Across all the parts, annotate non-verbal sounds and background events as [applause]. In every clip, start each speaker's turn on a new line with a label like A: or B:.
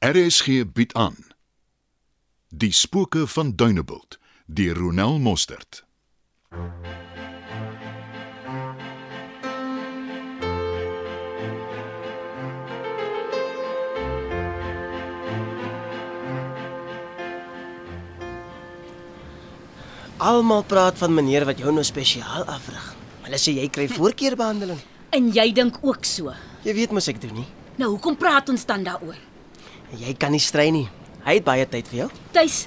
A: RSG bied aan Die spooke van Dunebuld deur Ronel Mostert.
B: Almal praat van meneer wat jou nou spesiaal afrig. Hulle sê jy [laughs] kry voorkeurbehandeling.
C: En jy dink ook so.
B: Jy weet mos ek doen nie.
C: Nou hoekom praat ons dan daaroor?
B: Jy kan nie strei nie. Hy het baie tyd vir jou.
C: Tuis,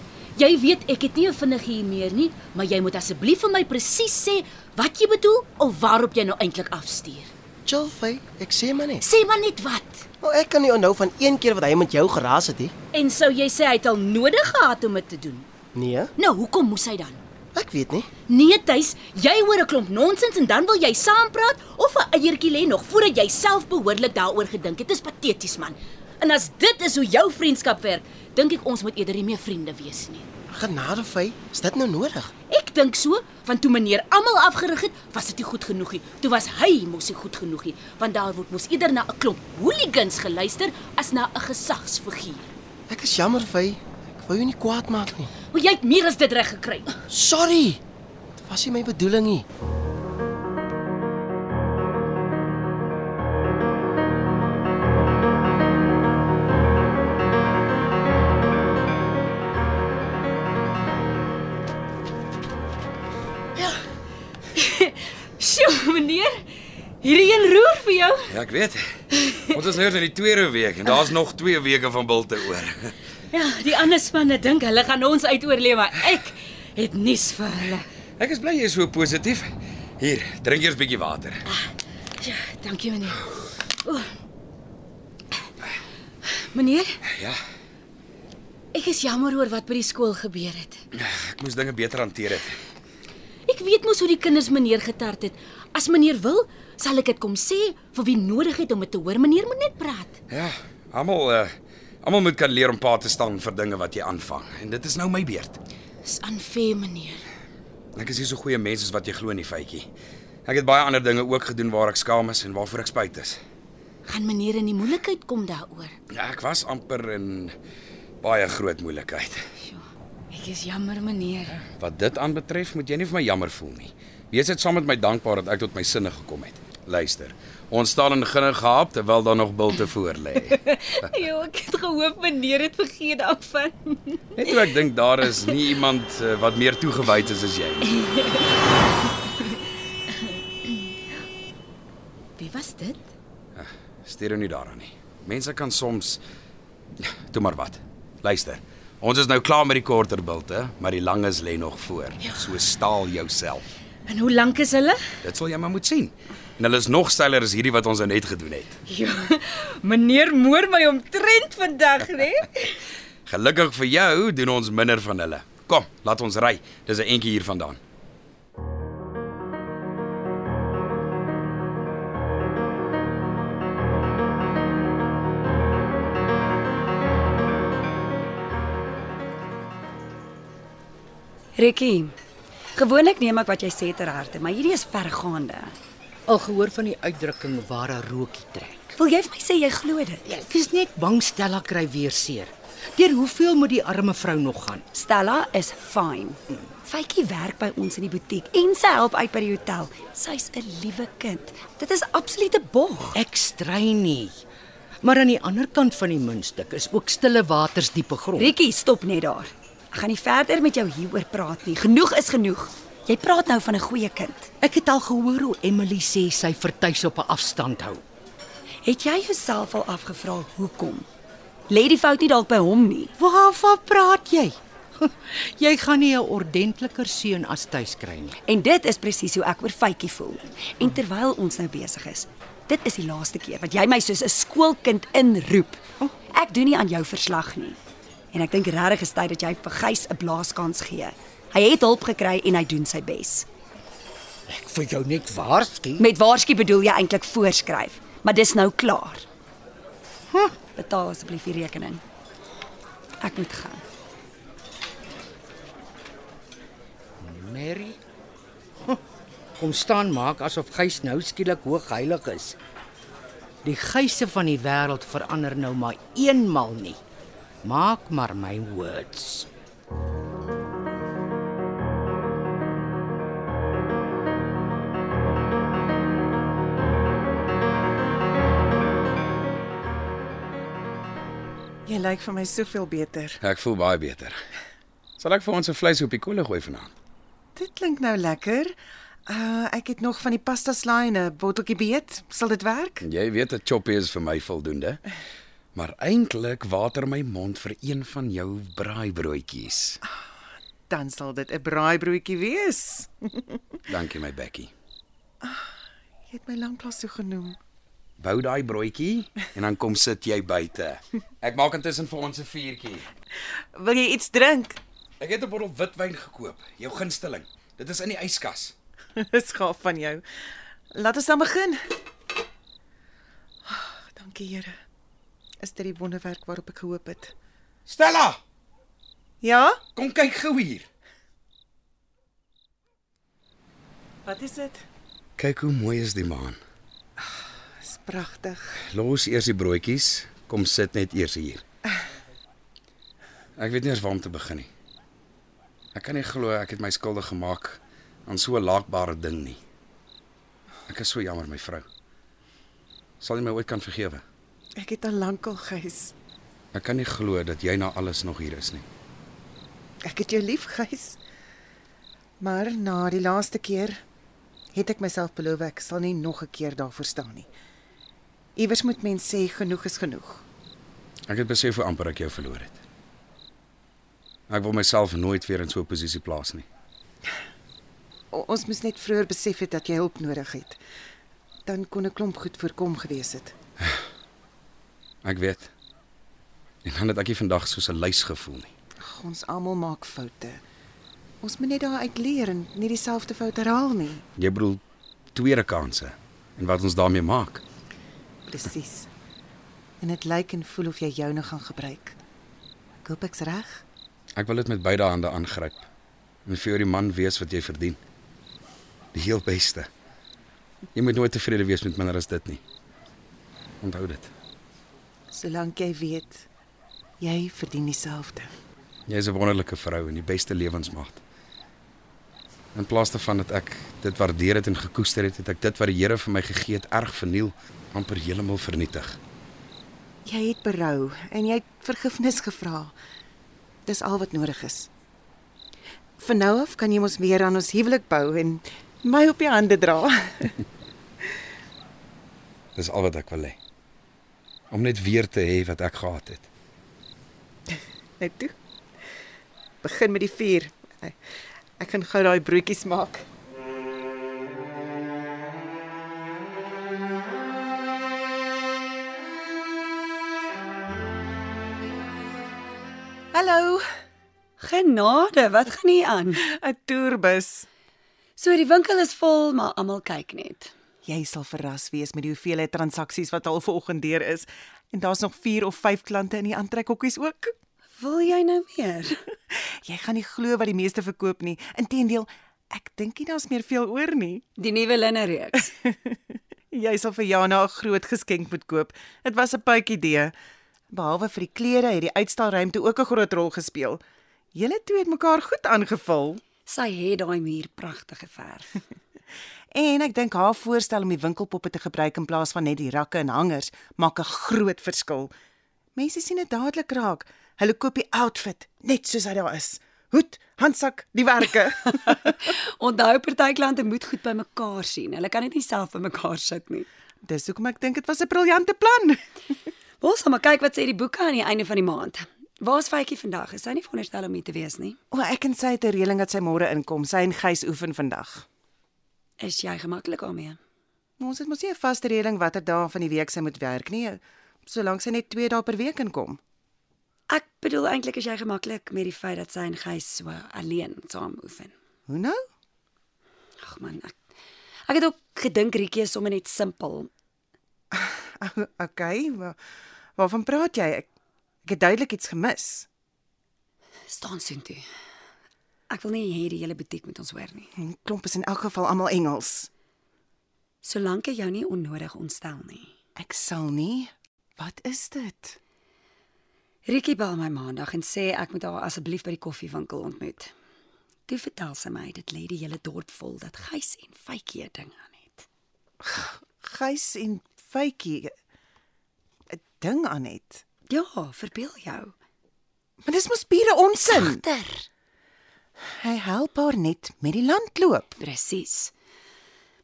C: jy weet ek het nie 'n vinnige hier meer nie, maar jy moet asseblief vir my presies sê wat jy bedoel of waarop jy nou eintlik afstuur.
B: Chill, Fay. Ek sê maar net.
C: Sê maar net wat.
B: Nou ek kan nie onthou van een keer wat hy met jou geraas het nie.
C: En sou jy sê hy het al nodig gehad om dit te doen?
B: Nee,
C: Nou hoekom moes hy dan?
B: ek weet nie.
C: Nee, Tuis, jy hoor 'n klomp nonsens en dan wil jy saampraat of 'n eiertjie lê nog voordat jy self behoorlik daaroor gedink het. Dit is pateties, man. En as dit is hoe jou vriendskap werk, dink ek ons moet eerder nie meer vriende wees nie.
B: Genade, Fay. Is dit nou nodig?
C: Ek dink so, want toe meneer almal afgerig het, was dit nie goed genoeg nie. Toe was hy mos nie goed genoeg nie, want daar word mos eerder na 'n klomp hooligans geluister as na 'n gesagsfiguur.
B: Ek is jammer, Fay. Ek wou jou nie kwaad maak nie.
C: Maar jy het meer as dit reg gekry.
B: Sorry. Dit was nie my bedoeling nie.
C: Sjoe, meneer. Hierdie een roer vir jou.
D: Ja, ek weet. Ons is nou in die tweede week en daar's nog 2 weke van bilte oor.
C: Ja, die ander spanne dink hulle gaan ons uitoorleef, maar ek het nuus vir hulle.
D: Ek is bly jy is so positief. Hier, drink eers 'n bietjie water.
C: Ja, dankie meneer. O. Meneer,
D: Ja,
C: ek is jammer oor wat by die skool gebeur het.
D: ek moes dinge beter hanteer het.
C: Ek weet mos hoe die kinders meneer getart het. As meneer wil, sal ek dit kom sê vir wie nodig het om dit te hoor. Meneer moet net praat.
D: Ja, almal uh almal moet kan leer om pa te staan vir dinge wat jy aanvang en dit is nou my beurt.
C: Dis aanfair, meneer.
D: Ek is nie so goeie mens as wat jy glo nie, feitjie. Ek het baie ander dinge ook gedoen waar ek skaam is en waarvoor ek spyt is.
C: Gaan meneer in die moeilikheid kom daaroor.
D: Ja, ek was amper in baie groot moeilikheid.
C: Sjoe. Ek is jammer, meneer.
D: Wat dit aanbetref, moet jy nie vir my jammer voel nie. Wees net saam met my dankbaar dat ek tot my sinne gekom het. Luister. Ons staan in ginne gehaap terwyl daar nog bilte voor lê.
C: [laughs] Jo, ek het gehoop meneer het vergeet daarvan.
D: Net toe ek dink daar is nie iemand eh, wat meer toegewyd is as jy nie.
C: Wie was dit?
D: Stuur jou nie daaraan nie. Mense kan soms Ja, toe maar wat. Luister. Ons is nou klaar met die korter bilte, maar die langes lê nog voor. So staal jouself.
C: En hoe lank is hulle?
D: Dit sal jy maar moet sien. En hulle is nog styler as hierdie wat ons nou net gedoen het.
C: Jo, Ja, meneer moer my omtrent vandag, né?
D: Gelukkig vir jou doen ons minder van hulle. Kom, laat ons ry. Dis 'n entjie hier vandaan.
E: Rikkie. Gewoonlik neem ek wat jy sê ter harte, maar hierdie is vergaande.
F: Al gehoor van die uitdrukking waar 'n rookie trek.
E: Wil jy vir my sê jy glo dit?
F: Ja, ek is net bang Stella kry weer seer. Deur hoeveel moet die arme vrou nog gaan?
E: Stella is fyn. Faitjie werk by ons in die butiek en sy help uit by die hotel. Sy's 'n liewe kind. Dit is absolute bog.
F: Ek strei nie. Maar aan die ander kant van die muntstuk is ook stille waters diepe grond.
E: Rikkie, stop net daar. Ek gaan nie verder met jou hieroor praat nie. Genoeg is genoeg. Jy praat nou van 'n goeie kind.
F: Ek het al gehoor hoe Emily sê sy vertuis op 'n afstand hou.
E: Het jy jouself al afgevra hoekom? Lê die fout nie dalk by hom nie.
F: Waarvan praat jy? [laughs] Jy gaan nie 'n ordentliker seun as tuis kry nie.
E: En dit is presies hoe ek oor Faitjie voel. En terwyl ons nou besig is, dit is die laaste keer wat jy my soos 'n skoolkind inroep. Ek doen nie aan jou verslag nie. En ek dink regtig is tyd dat jy vir Gys 'n blaaskans gee. Hy het hulp gekry en hy doen sy bes.
F: Ek vir jou net waarsku.
E: Met waarsku bedoel jy eintlik voorskryf, maar dis nou klaar. Huh, betaal asseblief die rekening. Ek moet gaan.
F: Mary. Huh, Kom staan maak asof Gys nou skielik hoogheilig is. Die geise van die wêreld verander nou maar eenmal nie. Maak maar my words.
G: Jy lyk vir my soveel beter.
D: Ek voel baie beter. Sal ek vir ons 'n vleishoopie kolle gooi vanaand?
G: Dit klink nou lekker. Uh ek het nog van die pasta slaai en 'n botteltjie beet. Sal dit werk?
D: Jy weet dat choppie is vir my voldoende. Maar eintlik water my mond vir een van jou braaibroodjies.
G: Dan sal dit 'n braaibroodjie wees.
D: Dankie my Becky.
G: Jy het my lanklaas so genoem.
D: Bou daai broodjie en dan kom sit jy buite. Ek maak intussen vir ons 'n vuurtjie.
G: Wil jy iets drink? [laughs]
D: Ek het 'n bottel witwyn gekoop, jou gunsteling. Dit is in die yskas.
G: Dis gaaf van jou. Laat ons dan begin. Ah, Dankie Here. Is dit die wonderwerk waarop ek gehoop het?
D: Stella,
G: Ja?
D: kom kyk gou hier.
G: Wat is dit?
D: Kyk hoe mooi is die maan.
G: Dis pragtig.
D: Los eers die broodjies, kom sit net eers hier. Ek weet nie eens waar om te begin nie. Ek kan nie glo ek het my skuldig gemaak aan so 'n laakbare ding nie. Ek is so jammer my vrou. Sal jy my ooit kan vergewe?
G: Ek het al lankal gys.
D: Ek kan nie glo dat jy na alles nog hier is nie.
G: Ek het jou lief gys. Maar na die laaste keer het ek myself beloof ek sal nie nog 'n keer daarvoor staan nie. Iewers moet mens sê genoeg is genoeg.
D: Ek het besef hoe amper ek jou verloor het. Ek wil myself nooit weer in so 'n posisie plaas nie.
G: O, ons moes net vroeër besef het dat jy hulp nodig het. Dan kon 'n klomp goed voorkom gewees het.
D: Ek weet. En dan het ek nie vandag soos 'n lys gevoel nie.
G: Ag, ons almal maak foute. Ons moet net daaruit leer en nie dieselfde fout herhaal nie.
D: Jy bedoel tweede kansse en wat ons daarmee maak.
G: Presies. En dit lyk en voel of jy joune gaan gebruik. Ek hoop ek's reg.
D: Ek wil dit met beide hande aangryp en vir jou die man wees wat jy verdien. Die heel beste. Jy moet nooit tevrede wees met minder as dit nie. Onthou dit.
G: Solank jy weet jy verdien dieselfde.
D: Jy is 'n wonderlike vrou en die beste lewensmaat. In plaas daarvan dat ek dit waardeer het en gekoester het, het ek dit wat die Here vir my gegee het erg verniel, amper heeltemal vernietig.
G: Jy het berou en jy het vergifnis gevra. Dis al wat nodig is. Van nou af kan jy mos weer aan ons huwelik bou en my op die hande dra. [laughs]
D: Dis al wat ek wil hê. Om net weer te hê wat ek gehad het.
G: Net toe. Begin met die vuur. Ek- Ek gaan gou daai broodjies maak. Hallo,
E: Genade, wat gaan nie aan?
G: 'n toerbus.
E: So die winkel is vol, maar almal kyk net.
G: Jy sal verras wees met die hoeveelheid transaksies wat al vanoggend deur is en daar's nog 4 of 5 klante in die aantrekhokkies ook.
E: Wil jy nou meer?
G: Jy gaan nie glo wat die meeste verkoop nie. Inteendeel, ek dink nie daar's meer veel oor nie.
E: Die nuwe linne reeks.
G: Jy sal vir Jana 'n groot geskenk moet koop. Dit was 'n puitjie idee. Behalwe vir die klere het die uitstalruimte ook 'n groot rol gespeel. Julle twee het mekaar goed aangevul
E: Sy het daai muur pragtig geverf.
G: en ek dink haar voorstel om die winkelpoppe te gebruik in plaas van net die rakke en hangers maak 'n groot verskil. Mense sien dit dadelik raak. Hulle koop die outfit net soos hy daar is. Hoed, handsak, die werke.
E: Onthou party klante moet goed by mekaar sien. Hulle kan dit nie self by mekaar sit nie.
G: Dis hoekom ek dink dit was 'n briljante plan.
E: Ons gaan maar kyk wat sê die boeke aan die einde van die maand. Waar's Faitjie vandag? Is sy nie veronderstel om hier te wees nie?
G: O, ek en sy het 'n reëling dat sy môre inkom. Sy en Gys oefen vandag.
E: Is jy gemaklik daarmee?
G: Ons het mos nie 'n vaste reëling watter dae van die week sy moet werk nie, solank sy net 2 dae per week inkom.
E: Ek bedoel eintlik is jy gemaklik met die feit dat sy en Gys so alleen saam oefen.
G: Hoe nou? [laughs]
E: Ag man, ek ek het ook gedink Rietjie is sommer net simpel.
G: O, okay, wa waarvan praat jy? Ek, ek het duidelik iets gemis.
E: Staan sien toe. Ek wil nie hê die hele butiek moet ons hoor nie.
G: En klomp is in elk geval almal Engels.
E: Solank jy jou nie onnodig ontstel nie.
G: Ek sal nie. Wat is dit?
E: Riekie bel my maandag en sê ek moet haar asseblief by die koffiewinkel ontmoet. Toe vertel sy my dit lê die hele dorp vol dat gys en fytjie 'n ding aan het.
G: Gys en Faitjie 'n ding aan het.
E: Ja, verbeel jou.
G: Maar dis mos pure onsin.
E: Ter.
G: Hy help haar net met die landloop.
E: Presies.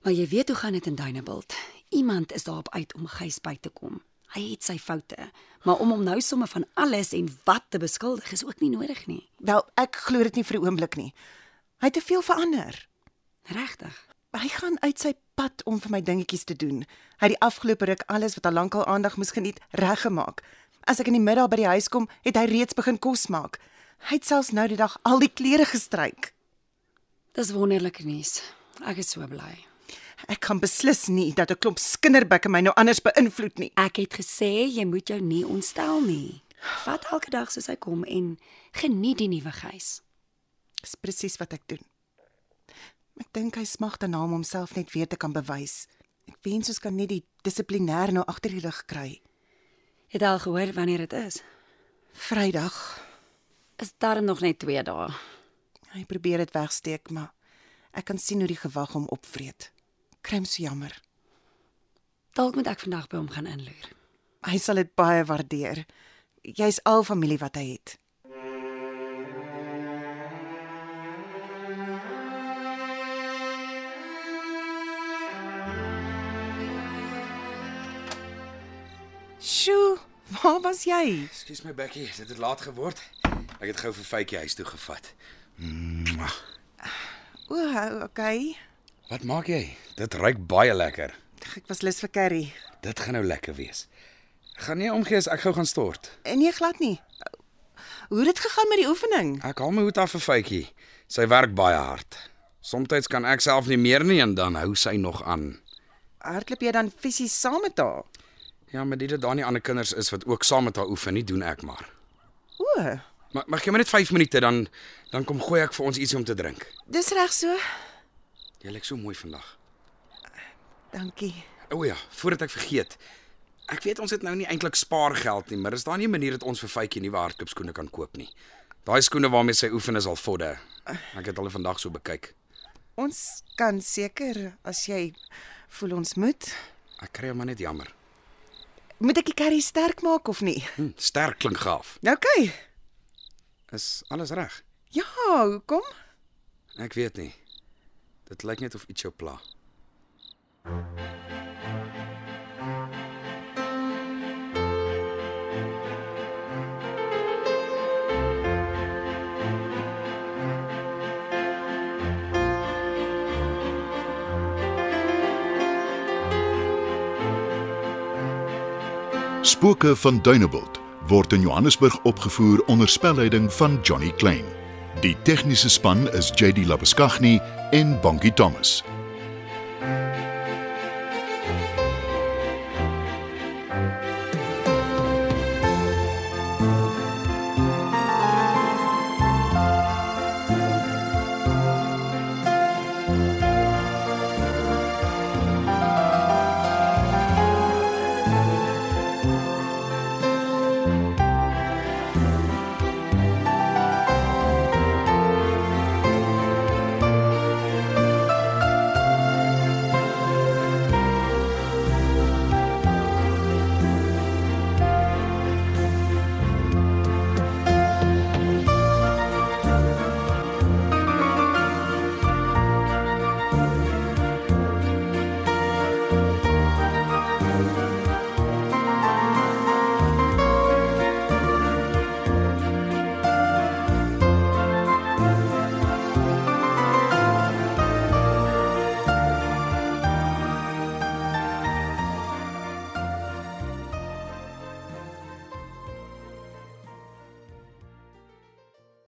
E: Maar jy weet hoe gaan dit in Dunebuld. Iemand is daarop uit om gys by te kom. Hy het sy foute, maar om hom nou somme van alles en wat te beskuldig is ook nie nodig nie.
G: Wel, ek glo dit nie vir 'n oomblik nie. Hy het te veel verander.
E: Regtig?
G: Hy gaan uit sy pad om vir my dingetjies te doen. Hy het die afgelope ruk alles wat al lankal aandag moes geniet reggemaak. As ek in die middag by die huis kom, het hy reeds begin kos maak. Hy het selfs nou die dag al die klere gestryk.
E: Dis wonderlike nuus. Ek is so bly.
G: Ek kan beslis nie dat 'n klomp skinderbekke my nou anders beïnvloed nie.
E: Ek het gesê jy moet jou nie ontstel nie. Vat elke dag soos hy kom en geniet die nuwe gees.
G: Dis presies wat ek doen. Ek dink hy smag daarna om homself net weer te kan bewys. Ek wens ons kan net die dissiplinêr nou agter die rug kry.
E: Het al gehoor wanneer dit is?
G: Vrydag.
E: Is darm nog net 2 dae.
G: Hy probeer dit wegsteek, maar ek kan sien hoe die gewag hom opvreet. Kry hom so jammer.
E: Dalk moet ek vandag by hom gaan inloer.
G: Hy sal dit baie waardeer. Jy's al familie wat hy het. Sjoe, waar was jy?
D: Ekskuus my Becky, dit het laat geword. Ek het gou vir Faitjie huis toe gevat. Mwah.
G: O, okay.
D: Wat maak jy? Dit ruik baie lekker.
G: Ek was lus vir curry.
D: Dit gaan nou lekker wees. Gaan nie omgee as ek gou gaan stort.
G: En nee, glad nie. Hoe het dit gegaan met die oefening?
D: Ek haal my hoed af vir Faitjie. Sy werk baie hard. Somstyds kan ek self nie meer nie en dan hou sy nog aan.
G: Hardloop jy dan fisies saam met haar?
D: Ja, maar dit dat daar nie ander kinders is wat ook saam met haar oefen nie, doen ek maar.
G: O,
D: Maar mag jy maar net 5 minute dan dan kom gooi ek vir ons ietsie om te drink.
G: dis reg so.
D: Jy lyk so mooi vandag.
G: Dankie.
D: O ja, voordat ek vergeet. Ek weet ons het nou nie eintlik spaargeld nie, maar is daar nie 'n manier dat ons vir Faitjie nuwe hardloopskoene kan koop nie? Daai skoene waarmee sy oefen is al vodde. Ek het hulle vandag so bekyk.
G: Ons kan seker as jy voel ons moet.
D: Ek kry hom maar net jammer.
G: Moet ek die curry sterk maak of nie?
D: Hm, sterk klink gaaf.
G: Okay.
D: Is alles reg?
G: Ja, hoekom?
D: Ek weet nie. Dit lyk net of iets jou pla.
A: Spooke van Dunebuld word in Johannesburg opgevoer onder spelleiding van Johnny Klein. Die tegniese span is JD Labuskaghni en Bongie Thomas.